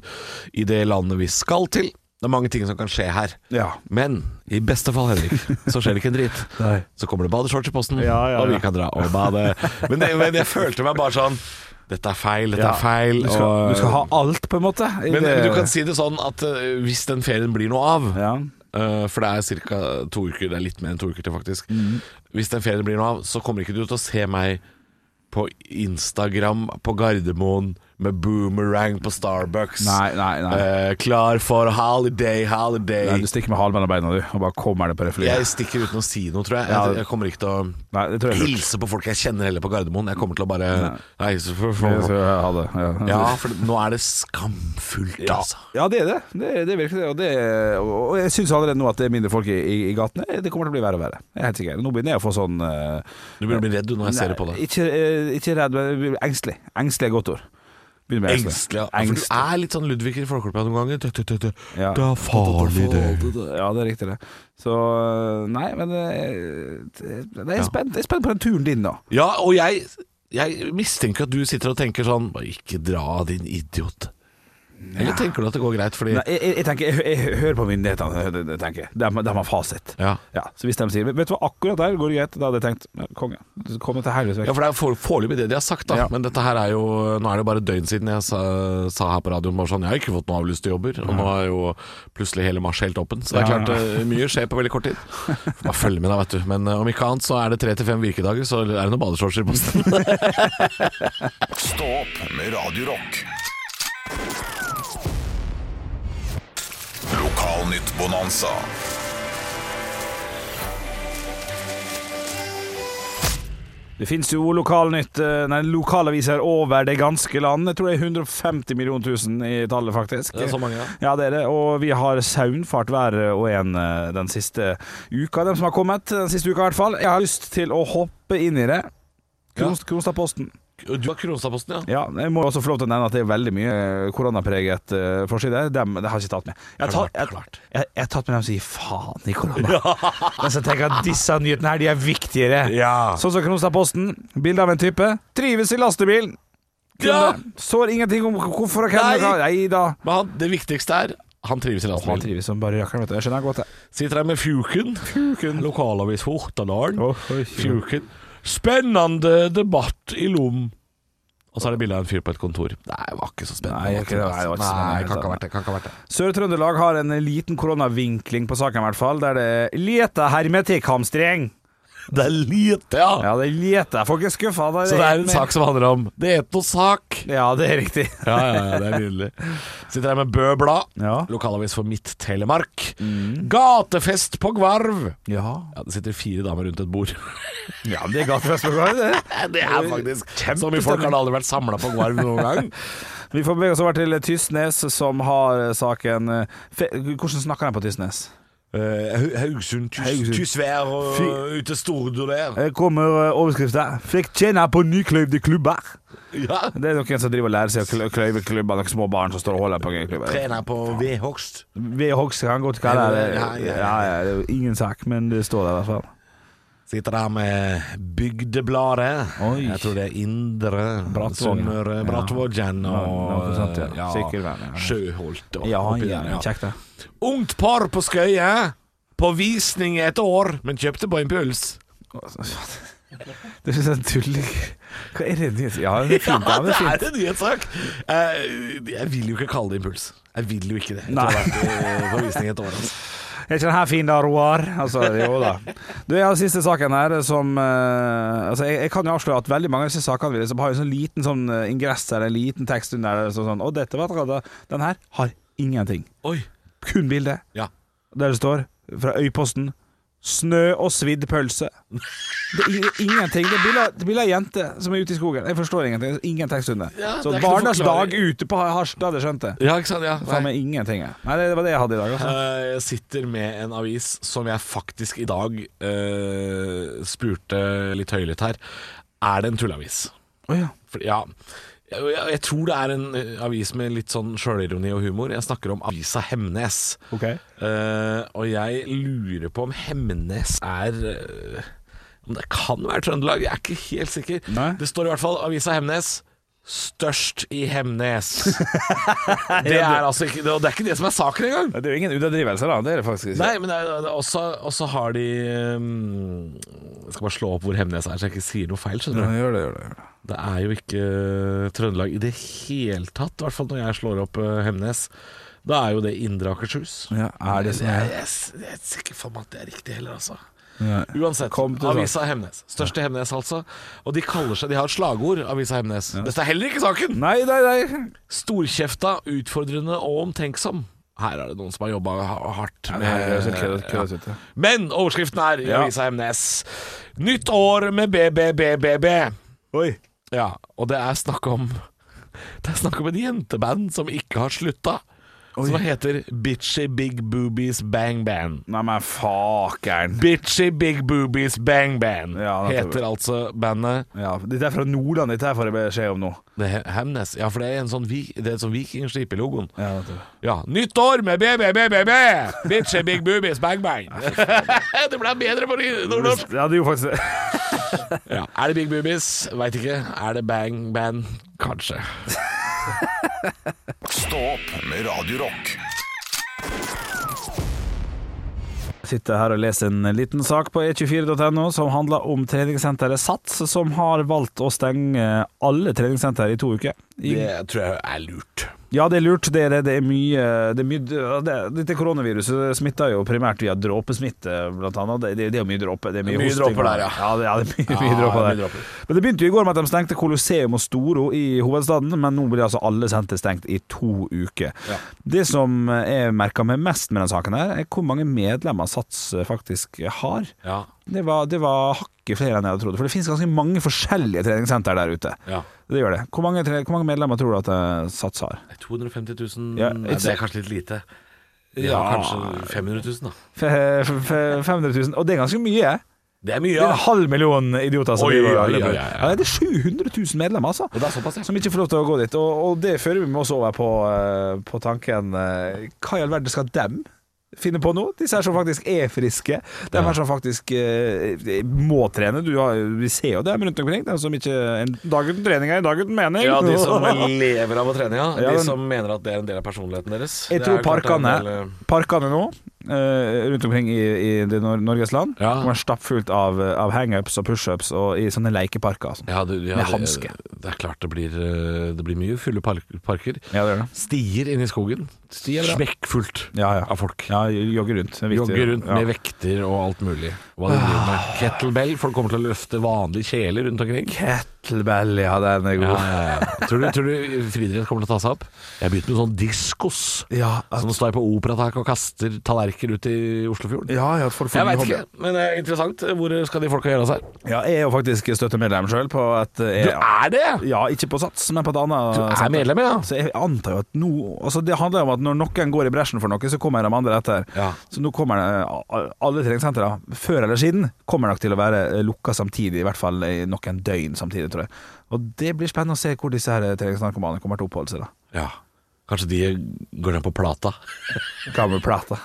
[SPEAKER 3] i det landet vi skal til. Det er mange ting som kan skje her.
[SPEAKER 4] Ja.
[SPEAKER 3] Men i beste fall, Henrik, så skjer det ikke en dritt.
[SPEAKER 4] Nei.
[SPEAKER 3] Så kommer det badeshorts i posten,
[SPEAKER 4] Ja, ja,
[SPEAKER 3] og vi
[SPEAKER 4] ja.
[SPEAKER 3] kan dra og bade. Men, det, men jeg følte meg bare sånn Dette er feil, dette
[SPEAKER 4] Ja.
[SPEAKER 3] er feil.
[SPEAKER 4] Du skal,
[SPEAKER 3] og-
[SPEAKER 4] du skal ha alt, på en måte. i
[SPEAKER 3] men,
[SPEAKER 4] det-
[SPEAKER 3] men du kan si det sånn at eh, hvis den ferien blir noe av
[SPEAKER 4] Ja.
[SPEAKER 3] eh, For det er ca. to uker, det er litt mer enn to uker til faktisk.
[SPEAKER 4] Mm.
[SPEAKER 3] Hvis den ferien blir noe av, så kommer ikke du til å se meg på Instagram på Gardermoen med boomerang på Starbucks.
[SPEAKER 4] Nei, nei, nei.
[SPEAKER 3] Eh, klar for holiday, holiday.
[SPEAKER 4] nei. Du stikker med halen mellom beina, du, og bare kommer deg på det flyet.
[SPEAKER 3] jeg stikker uten å si noe, tror jeg.
[SPEAKER 4] Ja.
[SPEAKER 3] Jeg, jeg kommer ikke til å
[SPEAKER 4] Nei, det tror jeg er lurt.
[SPEAKER 3] hilse på folk jeg kjenner heller på Gardermoen. Jeg kommer til å bare Nei, så
[SPEAKER 4] Jeg skal ha det.
[SPEAKER 3] Ja, for nå er det skamfullt, altså.
[SPEAKER 4] Ja, det er det. Det, det er virkelig det. Og, det, og og jeg syns allerede nå at det er mindre folk i, i, i gatene. Det kommer til å bli verre og verre. Jeg er helt sikker. Nå begynner jeg å få sånn eh,
[SPEAKER 3] Du begynner å bli redd du, når jeg ser det på
[SPEAKER 4] nei,
[SPEAKER 3] deg.
[SPEAKER 4] Ikke, eh, ikke redd, men engstelig. Engstelig er godt ord. Begynner med
[SPEAKER 3] Engstelig, ja. For du er litt sånn Ludvig i Flåklypa noen ganger. Det, det, det, det.
[SPEAKER 4] Ja.
[SPEAKER 3] det er farlig, det.
[SPEAKER 4] Ja, det er riktig, det. Så Nei, men eh, det- Jeg er spent, jeg er spent på den turen din, da.
[SPEAKER 3] Ja, og jeg, jeg mistenker at du sitter og tenker sånn «Bare Ikke dra, din idiot. Eller tenker du at det går greit fordi
[SPEAKER 4] Nei, jeg, jeg, jeg tenker, jeg, hø- jeg hører på myndighetene, det- det tenker jeg. De, de har fasit.
[SPEAKER 3] Ja.
[SPEAKER 4] Ja, så hvis de sier Vet du hva, akkurat der går det greit. Da hadde jeg tenkt ja, Konge. Kom deg til helvetes vekk.
[SPEAKER 3] Ja, for det er for- foreløpig det de har sagt, da.
[SPEAKER 4] Ja.
[SPEAKER 3] Men dette her er jo Nå er det jo bare et døgn siden jeg sa, sa her på radioen bare sånn Jeg har ikke fått noen avlyste jobber. Og nå er jo plutselig hele mars helt åpen. Så det er
[SPEAKER 4] Ja.
[SPEAKER 3] klart eh, mye skjer på veldig kort tid. Får Bare følg med, da, vet du. Men eh, om ikke annet så er det tre til fem virkedager, så er det noen badeshorts i posten.
[SPEAKER 1] Stå opp med Radio Rock. Lokalnytt Bonanza.
[SPEAKER 4] Det finnes jo lokalnytt, eh, nei, lokalaviser over det ganske land. Jeg tror det er 150 millioner tusen i tallet, faktisk.
[SPEAKER 3] Det er så mange, ja.
[SPEAKER 4] Ja, det er det. Og vi har saunfart hver og en eh, den siste uka, dem som har kommet. Den siste uka, i hvert fall. Jeg har lyst til å hoppe inn i det. Kronst, Kronstadposten.
[SPEAKER 3] Du har Kronstadposten, ja.
[SPEAKER 4] Ja, jeg må også få lov til å nevne at det er veldig mye eh, koronapreget eh, forside. Dem det har jeg ikke tatt med. Jeg har tatt,
[SPEAKER 3] Klart, klart.
[SPEAKER 4] jeg, jeg, jeg har tatt med dem som gir faen i korona. Men så tenker jeg at disse nyhetene her, de er viktigere.
[SPEAKER 3] Ja.
[SPEAKER 4] Sånn som Kronstadposten. Bilde av en type. Trives i lastebil.
[SPEAKER 3] Ja!
[SPEAKER 4] kunne Står ingenting om hvorfor og hvem
[SPEAKER 3] Nei.
[SPEAKER 4] og hva. Nei da.
[SPEAKER 3] Men han, det viktigste er han trives i
[SPEAKER 4] Han
[SPEAKER 3] lastebil.
[SPEAKER 4] trives som bare rakkeren, vet du. Jeg skjønner godt det.
[SPEAKER 3] Sitter her med Fjuken. Lokalavis Hortadalen.
[SPEAKER 4] Oh, oi,
[SPEAKER 3] Fjuken. Spennende debatt i Lom. Og så er det bilde av en fyr på et kontor. Nei, det var ikke så spennende.
[SPEAKER 4] Nei, ikke det, nei, det var ikke så spennende.
[SPEAKER 3] Nei, kan ikke ha vært det. Kan ikke ha vært det.
[SPEAKER 4] Sør-Trøndelag har en liten koronavinkling på saken, i hvert fall. Der det er lite hermetikkhamstring.
[SPEAKER 3] Det er lite, ja.
[SPEAKER 4] Ja, det er lite. Folk er skuffa.
[SPEAKER 3] Så det er en sak som handler om Det er noe sak.
[SPEAKER 4] Ja, det er riktig.
[SPEAKER 3] Ja, ja, ja, det er nydelig. Sitter her med Bø Blad,
[SPEAKER 4] Ja.
[SPEAKER 3] lokalavis for Midt-Telemark. Gatefest på Gvarv.
[SPEAKER 4] Ja,
[SPEAKER 3] Ja, Det sitter fire damer rundt et bord.
[SPEAKER 4] ja men det er gatefest på gang, det.
[SPEAKER 3] Det er faktisk Så mye folk har det aldri vært samla på Gvarv noen gang.
[SPEAKER 4] Vi får bevege oss over til Tysnes, som har eh, saken eh, fe Hvordan snakker de på Tysnes?
[SPEAKER 3] Eh, Haugesund,
[SPEAKER 4] Haugesund.
[SPEAKER 3] Tysvær og
[SPEAKER 4] Fy-
[SPEAKER 3] ute Stordo der.
[SPEAKER 4] Her kommer eh, overskriften 'Fikk tjene på nykløyvde klubber'.
[SPEAKER 3] Ja.
[SPEAKER 4] Det er noen som driver og lærer seg å klø- kløyve klubber, noen små barn som står og holder på klubber.
[SPEAKER 3] Trener på vedhogst.
[SPEAKER 4] Vi i Hogst kan godt kalle det
[SPEAKER 3] Ja, ja, ja.
[SPEAKER 4] ja, ja, det er jo ingen sak, men det står der i hvert fall.
[SPEAKER 3] Sitter der med Bygdebladet.
[SPEAKER 4] Oi.
[SPEAKER 3] Jeg tror det er Indre
[SPEAKER 4] Brattvågen.
[SPEAKER 3] Sunnmøre,
[SPEAKER 4] Ja.
[SPEAKER 3] Brattvågen
[SPEAKER 4] Ja, noe sånt,
[SPEAKER 3] og
[SPEAKER 4] ja. Sikkert, ja.
[SPEAKER 3] Sjøholt. og
[SPEAKER 4] Ja,
[SPEAKER 3] oppi
[SPEAKER 4] ja,
[SPEAKER 3] der,
[SPEAKER 4] ja. kjekt det.
[SPEAKER 3] Ungt par på Skøye. På visning i et år, men kjøpte på impuls.
[SPEAKER 4] Det synes jeg er tullig. Hva er det nytt? Ja, det er fint. Ja, det er fint.
[SPEAKER 3] en nyhetssak! Eh, Jeg vil jo ikke kalle det impuls. Jeg vil jo ikke det. Etter å
[SPEAKER 4] Nei.
[SPEAKER 3] ha vært på- på visning i et år. Altså.
[SPEAKER 4] Er ikke den her fin da, Roar? Altså, jo da. Du, jeg har siste saken her som eh, Altså, jeg, jeg kan jo avsløre at veldig mange av disse sakene vi liksom har jo en sånn liten sånn eh, ingress eller en liten tekst under der sånn, sånn Og dette var det, Den her har ingenting.
[SPEAKER 3] Oi.
[SPEAKER 4] Kun bilde.
[SPEAKER 3] Ja.
[SPEAKER 4] Der det står, fra Øyposten, 'Snø og svidd pølse'. Det er ing- ingenting. Det er bilde av- det er bilde av ei jente som er ute i skogen. Jeg forstår ingenting. Ingen tekst under.
[SPEAKER 3] Ja, det er
[SPEAKER 4] Så
[SPEAKER 3] ikke noe
[SPEAKER 4] barnas
[SPEAKER 3] forklaring.
[SPEAKER 4] dag ute på Harstad, det skjønte jeg.
[SPEAKER 3] Ja, ikke sant? Ja.
[SPEAKER 4] Faen
[SPEAKER 3] Nei.
[SPEAKER 4] meg ingenting. jeg. Nei, det var det jeg hadde i dag. altså
[SPEAKER 3] Eh, Jeg sitter med en avis som jeg faktisk i dag eh, spurte litt høylytt her. Er det en tulleavis?
[SPEAKER 4] Å ja.
[SPEAKER 3] For, ja. Jeg, jeg, jeg tror det er en eh, avis med litt sånn sjølironi og humor. Jeg snakker om avisa Hemnes.
[SPEAKER 4] Ok.
[SPEAKER 3] Eh, og jeg lurer på om Hemnes er eh, Om det kan være Trøndelag, jeg er ikke helt sikker.
[SPEAKER 4] Nei.
[SPEAKER 3] Det står i hvert fall avisa Hemnes. Størst i Hemnes. det er altså ikke, og det er ikke det som er saken engang.
[SPEAKER 4] Det er jo ingen underdrivelse, da. Det er det faktisk ikke.
[SPEAKER 3] Nei, men det er- det er også, også har de um, Jeg skal bare slå opp hvor Hemnes er, så jeg ikke sier noe feil.
[SPEAKER 4] Ja,
[SPEAKER 3] skjønner du
[SPEAKER 4] gjør det, gjør det. Gjør det.
[SPEAKER 3] Det er jo ikke eh, Trøndelag i det hele tatt, i hvert fall når jeg slår opp eh, Hemnes. Da er jo det Indre Akershus.
[SPEAKER 4] Ja, er det sånn
[SPEAKER 3] jeg,
[SPEAKER 4] her?
[SPEAKER 3] jeg, jeg er ikke sikker for meg at det er riktig heller, altså.
[SPEAKER 4] Ja.
[SPEAKER 3] Uansett,
[SPEAKER 4] Kom til
[SPEAKER 3] avisa Hemnes. Største Hemnes, altså. Og de kaller seg De har et slagord, avisa Hemnes. Dette er heller ikke saken!
[SPEAKER 4] Nei, nei, nei.
[SPEAKER 3] Storkjefta, utfordrende og omtenksom. Her er det noen som har jobba hardt.
[SPEAKER 4] Ja,
[SPEAKER 3] Med,
[SPEAKER 4] det her er så køddet- køddet ut, ja.
[SPEAKER 3] Men overskriften er i
[SPEAKER 4] Ja.
[SPEAKER 3] avisa Hemnes. Nytt år med BBBBB.
[SPEAKER 4] Oi.
[SPEAKER 3] Ja, og det er snakk om Det er snakk om et jenteband som ikke har slutta. Som heter Bitchy Big Boobies Bang Band.
[SPEAKER 4] Nei, men fakeren.
[SPEAKER 3] Bitchy Big Boobies Bang Band
[SPEAKER 4] Ja, det er
[SPEAKER 3] heter altså bandet.
[SPEAKER 4] Ja, dette er fra Nordland, dette her får jeg beskjed om nå.
[SPEAKER 3] Det er Hemnes. Ja, for det er en sånn, vi- det er en sånn vikingskip i logoen.
[SPEAKER 4] Ja, vet du.
[SPEAKER 3] Ja, nytt år med BBBBB! Bitchy big boobies bang bang! det ble bedre på ny- nordnorsk!
[SPEAKER 4] Ja, det gjorde faktisk det.
[SPEAKER 3] Ja. Er det big boobies? Veit ikke. Er det bang band? Kanskje.
[SPEAKER 1] Stå opp med Radio Rock.
[SPEAKER 4] Sitter her og leser en liten sak på e e24.no som handler om treningssenteret Sats, som har valgt å stenge alle treningssenter i to uker. I
[SPEAKER 3] Det tror jeg er lurt.
[SPEAKER 4] Ja, det er lurt. Det er, det. det er mye, det er mye det, Dette koronaviruset smitter jo primært via dråpesmitte, blant annet. Det, det, det er jo mye dråpe. Det er mye,
[SPEAKER 3] Mye
[SPEAKER 4] hosting.
[SPEAKER 3] dråper der, ja.
[SPEAKER 4] Ja, det, ja, det er mye,
[SPEAKER 3] Ja,
[SPEAKER 4] mye dråper
[SPEAKER 3] det
[SPEAKER 4] der.
[SPEAKER 3] er mye dråper.
[SPEAKER 4] Men det begynte jo i går med at de stengte Colosseum og Storo i hovedstaden, men nå blir altså alle senter stengt i to uker.
[SPEAKER 3] Ja.
[SPEAKER 4] Det som jeg merka meg mest med denne saken, her er hvor mange medlemmer Sats eh, faktisk har.
[SPEAKER 3] Ja.
[SPEAKER 4] Det var, det var hakket flere enn jeg hadde trodd. For det finnes ganske mange forskjellige treningssenter der ute.
[SPEAKER 3] ja.
[SPEAKER 4] Det gjør det. Hvor mange, tre- hvor mange medlemmer tror du at eh, Sats har?
[SPEAKER 3] 250 000
[SPEAKER 4] Ja,
[SPEAKER 3] Nei, Det er kanskje litt lite. Ja,
[SPEAKER 4] Ja.
[SPEAKER 3] kanskje 500 000, da.
[SPEAKER 4] F- f- f- 500 000, og det er ganske mye. eh?
[SPEAKER 3] Det er
[SPEAKER 4] Det
[SPEAKER 3] mye,
[SPEAKER 4] er en
[SPEAKER 3] ja.
[SPEAKER 4] halv million idioter som
[SPEAKER 3] Oi,
[SPEAKER 4] driver
[SPEAKER 3] oi,
[SPEAKER 4] og
[SPEAKER 3] oi, oi, oi.
[SPEAKER 4] Ja, Det er 700 000 medlemmer, altså.
[SPEAKER 3] Og det er såpass, ja.
[SPEAKER 4] Som ikke får lov til å gå dit. Og, og det fører vi med oss over på, eh, på tanken eh, Hva i all verden skal dem finner på noe. Disse her som faktisk er friske. De her som faktisk eh, må trene. Du har, vi ser jo dem rundt omkring. De som ikke en dag uten trening er en dag uten mening.
[SPEAKER 3] Ja, de som lever av å trene, ja.
[SPEAKER 4] Ja,
[SPEAKER 3] De
[SPEAKER 4] men-
[SPEAKER 3] som mener at det er en del av personligheten deres.
[SPEAKER 4] Jeg
[SPEAKER 3] Det er
[SPEAKER 4] tror
[SPEAKER 3] klart det er en
[SPEAKER 4] parkene,
[SPEAKER 3] del, eh,
[SPEAKER 4] parkene nå eh, rundt omkring i, i det nor Norges land
[SPEAKER 3] Ja.
[SPEAKER 4] kommer stappfullt av, av hangups og pushups og i sånne lekeparker. og sånn.
[SPEAKER 3] ja, du, ja,
[SPEAKER 4] Med
[SPEAKER 3] det-
[SPEAKER 4] hanske.
[SPEAKER 3] Det er klart det blir, eh, det blir mye fulle park parker.
[SPEAKER 4] Ja, det gjør det.
[SPEAKER 3] Stier inne i skogen. Stier,
[SPEAKER 4] bra.
[SPEAKER 3] Smekkfullt
[SPEAKER 4] Ja, ja.
[SPEAKER 3] av folk.
[SPEAKER 4] Ja, jogge rundt. Det er viktig.
[SPEAKER 3] Jogger rundt
[SPEAKER 4] ja.
[SPEAKER 3] med vekter og alt mulig. Hva de driver med. Kettlebell. Folk kommer til å løfte vanlige kjeler rundt omkring.
[SPEAKER 4] Kettlebell, ja, den er
[SPEAKER 3] Ja,
[SPEAKER 4] god.
[SPEAKER 3] ja, ja. Tror, du, tror du friidrett kommer til å ta seg opp? Jeg har begynt med sånn diskos.
[SPEAKER 4] Ja, altså, at,
[SPEAKER 3] Som står på operatak og kaster tallerkener ut i Oslofjorden.
[SPEAKER 4] ja, ja, at folk får
[SPEAKER 3] Jeg
[SPEAKER 4] ny
[SPEAKER 3] veit
[SPEAKER 4] hobby.
[SPEAKER 3] ikke, men det er interessant. Hvor skal de folka gjøre av seg?
[SPEAKER 4] Ja, jeg er jo faktisk støttemedlem sjøl på eh, et
[SPEAKER 3] Du
[SPEAKER 4] jeg,
[SPEAKER 3] er det!
[SPEAKER 4] Ja, ikke på Sats, men på et annet.
[SPEAKER 3] Du er
[SPEAKER 4] senter.
[SPEAKER 3] medlem, ja.
[SPEAKER 4] Så jeg antar jo at nå altså Det handler om at når noen går i bresjen for noe, så kommer de andre etter.
[SPEAKER 3] Ja.
[SPEAKER 4] Så nå kommer det, alle treningssentre, før eller siden, kommer nok til å være lukka samtidig. I hvert fall i noen døgn samtidig, tror jeg. Og det blir spennende å se hvor disse her eh, treningsnarkomane kommer til å oppholde seg. da
[SPEAKER 3] ja. Kanskje de går ned på plata.
[SPEAKER 4] Gammel plate.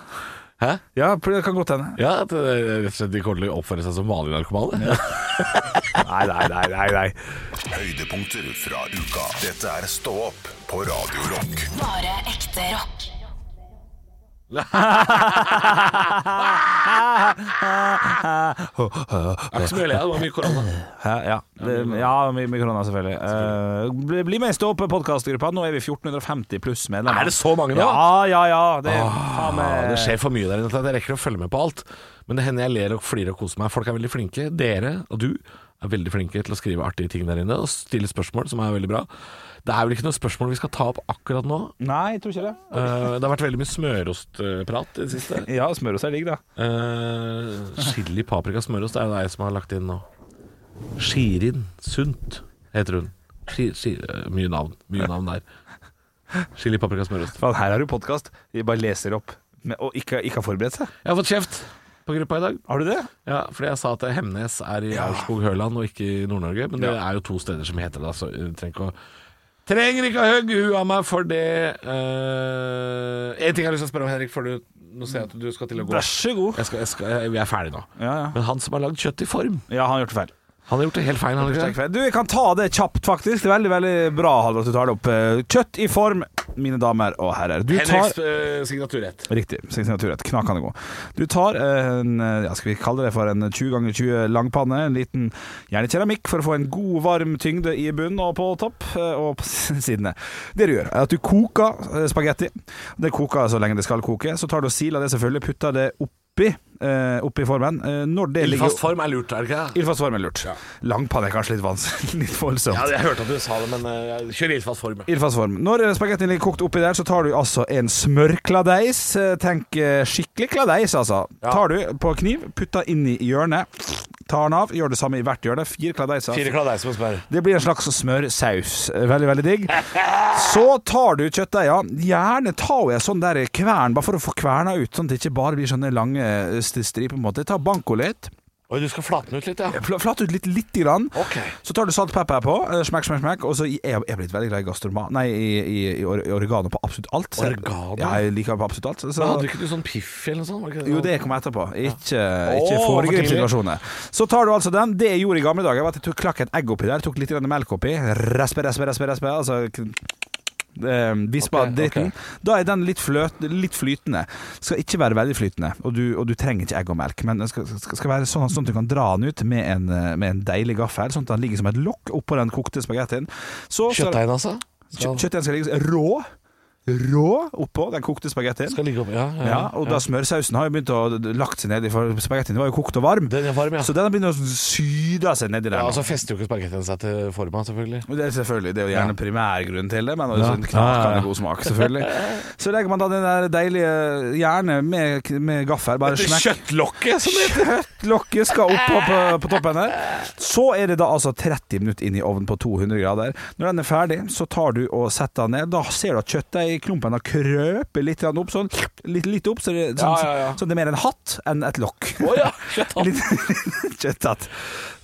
[SPEAKER 3] Hæ?
[SPEAKER 4] Ja, det kan godt hende.
[SPEAKER 3] Ja, at det er rett og slett de kommer til å oppføre seg som vanlige narkomane.
[SPEAKER 4] Nei, nei, nei, nei, nei.
[SPEAKER 1] Høydepunkter fra uka. Dette er Stå opp på Radio Rock.
[SPEAKER 2] Bare ekte rock.
[SPEAKER 3] Det er ikke så mye å le av, det var mye korona.
[SPEAKER 4] Hæ? Ja, det, ja mye, mye korona, selvfølgelig. Eh, bli, bli med i Stå opp-podkastgruppa. Nå er vi 1450 pluss medlemmer.
[SPEAKER 3] Er det så mange nå?
[SPEAKER 4] Ja, ja, ja. Det, er faen meg-
[SPEAKER 3] Ja, det skjer for mye der inne til at jeg rekker å følge med på alt. Men det hender jeg ler og flirer og koser meg. Folk er veldig flinke. Dere og du er veldig flinke til å skrive artige ting der inne og stille spørsmål, som er veldig bra. Det er vel ikke noe spørsmål vi skal ta opp akkurat nå.
[SPEAKER 4] Nei, jeg tror ikke det.
[SPEAKER 3] Eh, det har vært veldig mye smørostprat i det siste.
[SPEAKER 4] Ja, smørost er digg, da.
[SPEAKER 3] Eh, chili, paprika, smørost det er jo deg som har lagt inn nå. Shirin Sunt heter hun. Shi- shi- eh, mye navn. Mye navn der. Chili, paprika, smørost.
[SPEAKER 4] Faen, her har du podkast. Vi bare leser opp. Men, og ikke, ikke har forberedt seg.
[SPEAKER 3] Jeg har fått kjeft på gruppa i dag.
[SPEAKER 4] Har du det?
[SPEAKER 3] Ja, fordi jeg sa at Hemnes er i Aurskog-Høland og ikke i Nord-Norge. Men det er jo to steder som heter det, så jeg trenger ikke å Trenger ikke å hugge huet av meg for det. Uh, en ting jeg har lyst til å spørre om, Henrik, for du, nå ser jeg at du skal til å gå.
[SPEAKER 4] Vær så god.
[SPEAKER 3] Jeg skal, jeg skal, jeg, vi er ferdig nå.
[SPEAKER 4] Ja, ja.
[SPEAKER 3] Men han som har lagd kjøtt i form,
[SPEAKER 4] ja han har gjort feil.
[SPEAKER 3] han har gjort det helt feil. Han har ikke det?
[SPEAKER 4] Du, jeg kan ta det kjapt, faktisk. Det er Veldig veldig bra Halvor, at du tar det opp. Eh, Kjøtt i form, mine damer og herrer. Du tar
[SPEAKER 3] Henriks eh, signaturrett.
[SPEAKER 4] Riktig. sin Signaturrett. Knakende god. Du tar en eh, ja, skal vi kalle det for en 20 ganger 20 langpanne. En liten gjerne keramikk for å få en god, varm tyngde i bunnen og på topp eh, og på sidene. Det du gjør, er at du koker eh, spagetti. Det koker så lenge det skal koke. Så tar du og siler det selvfølgelig, putter det oppi, eh, oppi formen. Eh, Når det ligger
[SPEAKER 3] Ildfast form er lurt, er det ikke det?
[SPEAKER 4] Ildfast form er lurt. Langpanne er kanskje litt vanskelig, litt voldsomt.
[SPEAKER 3] Ja, jeg hørte at du sa det, men eh, kjør ildfast form. ja.
[SPEAKER 4] Ildfast form. Når spagettien ligger kokt oppi der, så tar du altså en smørkladeis. Eh, Tenk eh, skikkelig kladeis, altså.
[SPEAKER 3] Ja.
[SPEAKER 4] Tar du på kniv, putter inn i hjørnet, tar den av, gjør det samme i hvert hjørne. Fire kladeiser.
[SPEAKER 3] Fire kladeis som spør.
[SPEAKER 4] Det blir en slags smørsaus. Veldig, veldig digg. Så tar du kjøttdeiga. Gjerne ta en sånn der kvern, bare for å få kverna ut, sånn at det ikke bare blir sånne lange eh, st- striper. på en måte. Ta banko litt.
[SPEAKER 3] Oi, du skal flate den ut litt, ja.
[SPEAKER 4] Fla- Flatt ut litt, lite grann.
[SPEAKER 3] Ok.
[SPEAKER 4] Så tar du salt og pepper på, eh, smekk, smekk, smekk, og så jeg, jeg er blitt veldig glad i gastromat Nei, i, i, i or- i oregano på absolutt alt. Så-
[SPEAKER 3] Oregano?
[SPEAKER 4] Ja, jeg liker på absolutt alt. så-
[SPEAKER 3] Men hadde ikke du sånn piff eller noe sånt? var ikke
[SPEAKER 4] jo, det kommer etterpå. Ikke, ikke
[SPEAKER 3] Åh,
[SPEAKER 4] foregrip
[SPEAKER 3] for tidlig.
[SPEAKER 4] situasjonen. Så tar du altså den. Det jeg gjorde i gamle dager, var at jeg tok klakk et egg oppi der, tok litt grann melk oppi. Respe, respe, respe, respe. Altså k- eh, Vispa
[SPEAKER 3] Ok,
[SPEAKER 4] dritten.
[SPEAKER 3] ok.
[SPEAKER 4] Da er den litt, fløt, litt flytende. Skal ikke være veldig flytende, og du, og du trenger ikke egg og melk. Men den skal, skal skal være sånn, sånn at du kan dra den ut med en, eh, med en deilig gaffel, sånn at den ligger som et lokk oppå den kokte spagettien. Så skal-
[SPEAKER 3] Kjøttdeigen, altså?
[SPEAKER 4] kjø- Kjøttdeigen skal ligge rå, rå oppå den kokte spagettien.
[SPEAKER 3] Skal ligge opp, ja. ja,
[SPEAKER 4] Ja, og da smørsausen har jo begynt å d- d- lagt seg nedi, for spagettien var jo kokt og varm.
[SPEAKER 3] Den er varm, ja.
[SPEAKER 4] Så den har begynt å syde seg nedi der.
[SPEAKER 3] ja altså.
[SPEAKER 4] nå.
[SPEAKER 3] og så fester jo ikke spagettien seg til forma, selvfølgelig.
[SPEAKER 4] Og Det er selvfølgelig, det er jo gjerne primærgrunnen til det, men også
[SPEAKER 3] Ja.
[SPEAKER 4] en knakende
[SPEAKER 3] Ja, ja.
[SPEAKER 4] god smak, selvfølgelig. Så legger man da den der deilige gjerne med, med gaffel, bare smekk.
[SPEAKER 3] kjøttlokket, som det
[SPEAKER 4] Lokket skal opp på, på, på toppen her. Så er det da altså 30 minutter inn i ovnen på 200 grader. Når den er ferdig, så tar du og setter den ned. Da ser du at kjøttdeigklumpen har krøpet litt grann opp, sånn litt, litt opp, så det, sånn,
[SPEAKER 3] Ja, ja, ja.
[SPEAKER 4] så det er mer en hatt enn et lokk.
[SPEAKER 3] Å ja, kjøtthatt.
[SPEAKER 4] Litt, litt kjøtthatt.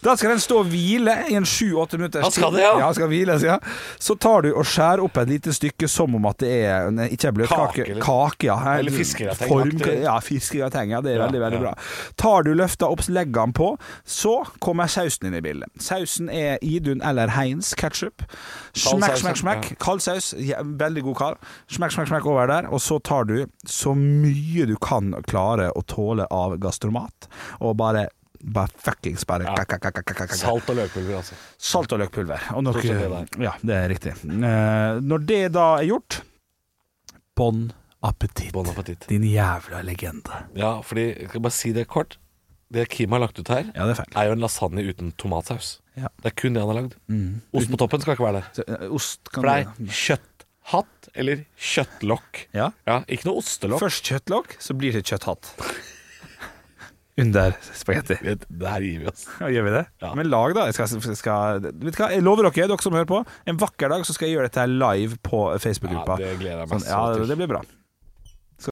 [SPEAKER 4] Da skal den stå og hvile i en sju-åtte minutter.
[SPEAKER 3] Han skal det, ja.
[SPEAKER 4] ja han skal hvile, sier jeg. Så tar du og skjærer opp et lite stykke som om at det er en, ikke en bløtkake.
[SPEAKER 3] Kake, eller-
[SPEAKER 4] Kake, ja.
[SPEAKER 3] Eller fiskegratengt,
[SPEAKER 4] Form-
[SPEAKER 3] aktig.
[SPEAKER 4] Ja, fiskegratengt. Ja, det er
[SPEAKER 3] Ja,
[SPEAKER 4] veldig,
[SPEAKER 3] ja.
[SPEAKER 4] veldig bra. Tar du løfta opp, legger den på, så kommer sausen inn i bildet. Sausen er Idun eller Heinz ketchup. Smekk,
[SPEAKER 3] saus, ja.
[SPEAKER 4] smekk, smekk. Kald saus. Ja, veldig god kald. Smekk, smekk, smekk over der. Og så tar du så mye du kan klare å tåle av gastromat, og bare bare fuckings bare kak, kak, kak, kak, kak, kak.
[SPEAKER 3] Salt og løkpulver, altså.
[SPEAKER 4] Salt og løkpulver. Og nok,
[SPEAKER 3] Stort sett det
[SPEAKER 4] ja, det er riktig. Eh, når det da er gjort Bon appétit,
[SPEAKER 3] Bon appétit.
[SPEAKER 4] din jævla legende.
[SPEAKER 3] Ja, fordi, jeg skal bare si det kort. Det Kim har lagt ut her,
[SPEAKER 4] Ja, det er feil.
[SPEAKER 3] er jo en lasagne uten tomatsaus.
[SPEAKER 4] Ja.
[SPEAKER 3] Det er kun det han har lagd. Ost på toppen skal ikke være der.
[SPEAKER 4] Så, eh, Ost kan
[SPEAKER 3] For sånn det er kjøtthatt eller kjøttlokk.
[SPEAKER 4] Ja.
[SPEAKER 3] Ikke noe ostelokk.
[SPEAKER 4] Først kjøttlokk, så blir det kjøtthatt. Under spagetti.
[SPEAKER 3] Det Der gir vi oss.
[SPEAKER 4] Ja, gjør vi det?
[SPEAKER 3] Ja.
[SPEAKER 4] Men lag, da. Jeg, skal, skal, vet du hva? jeg lover dere, dere som hører på, en vakker dag så skal jeg gjøre dette her live på Facebook-gruppa.
[SPEAKER 3] Ja, det gleder jeg meg
[SPEAKER 4] sånn,
[SPEAKER 3] så
[SPEAKER 4] ja,
[SPEAKER 3] til.
[SPEAKER 4] Det blir bra.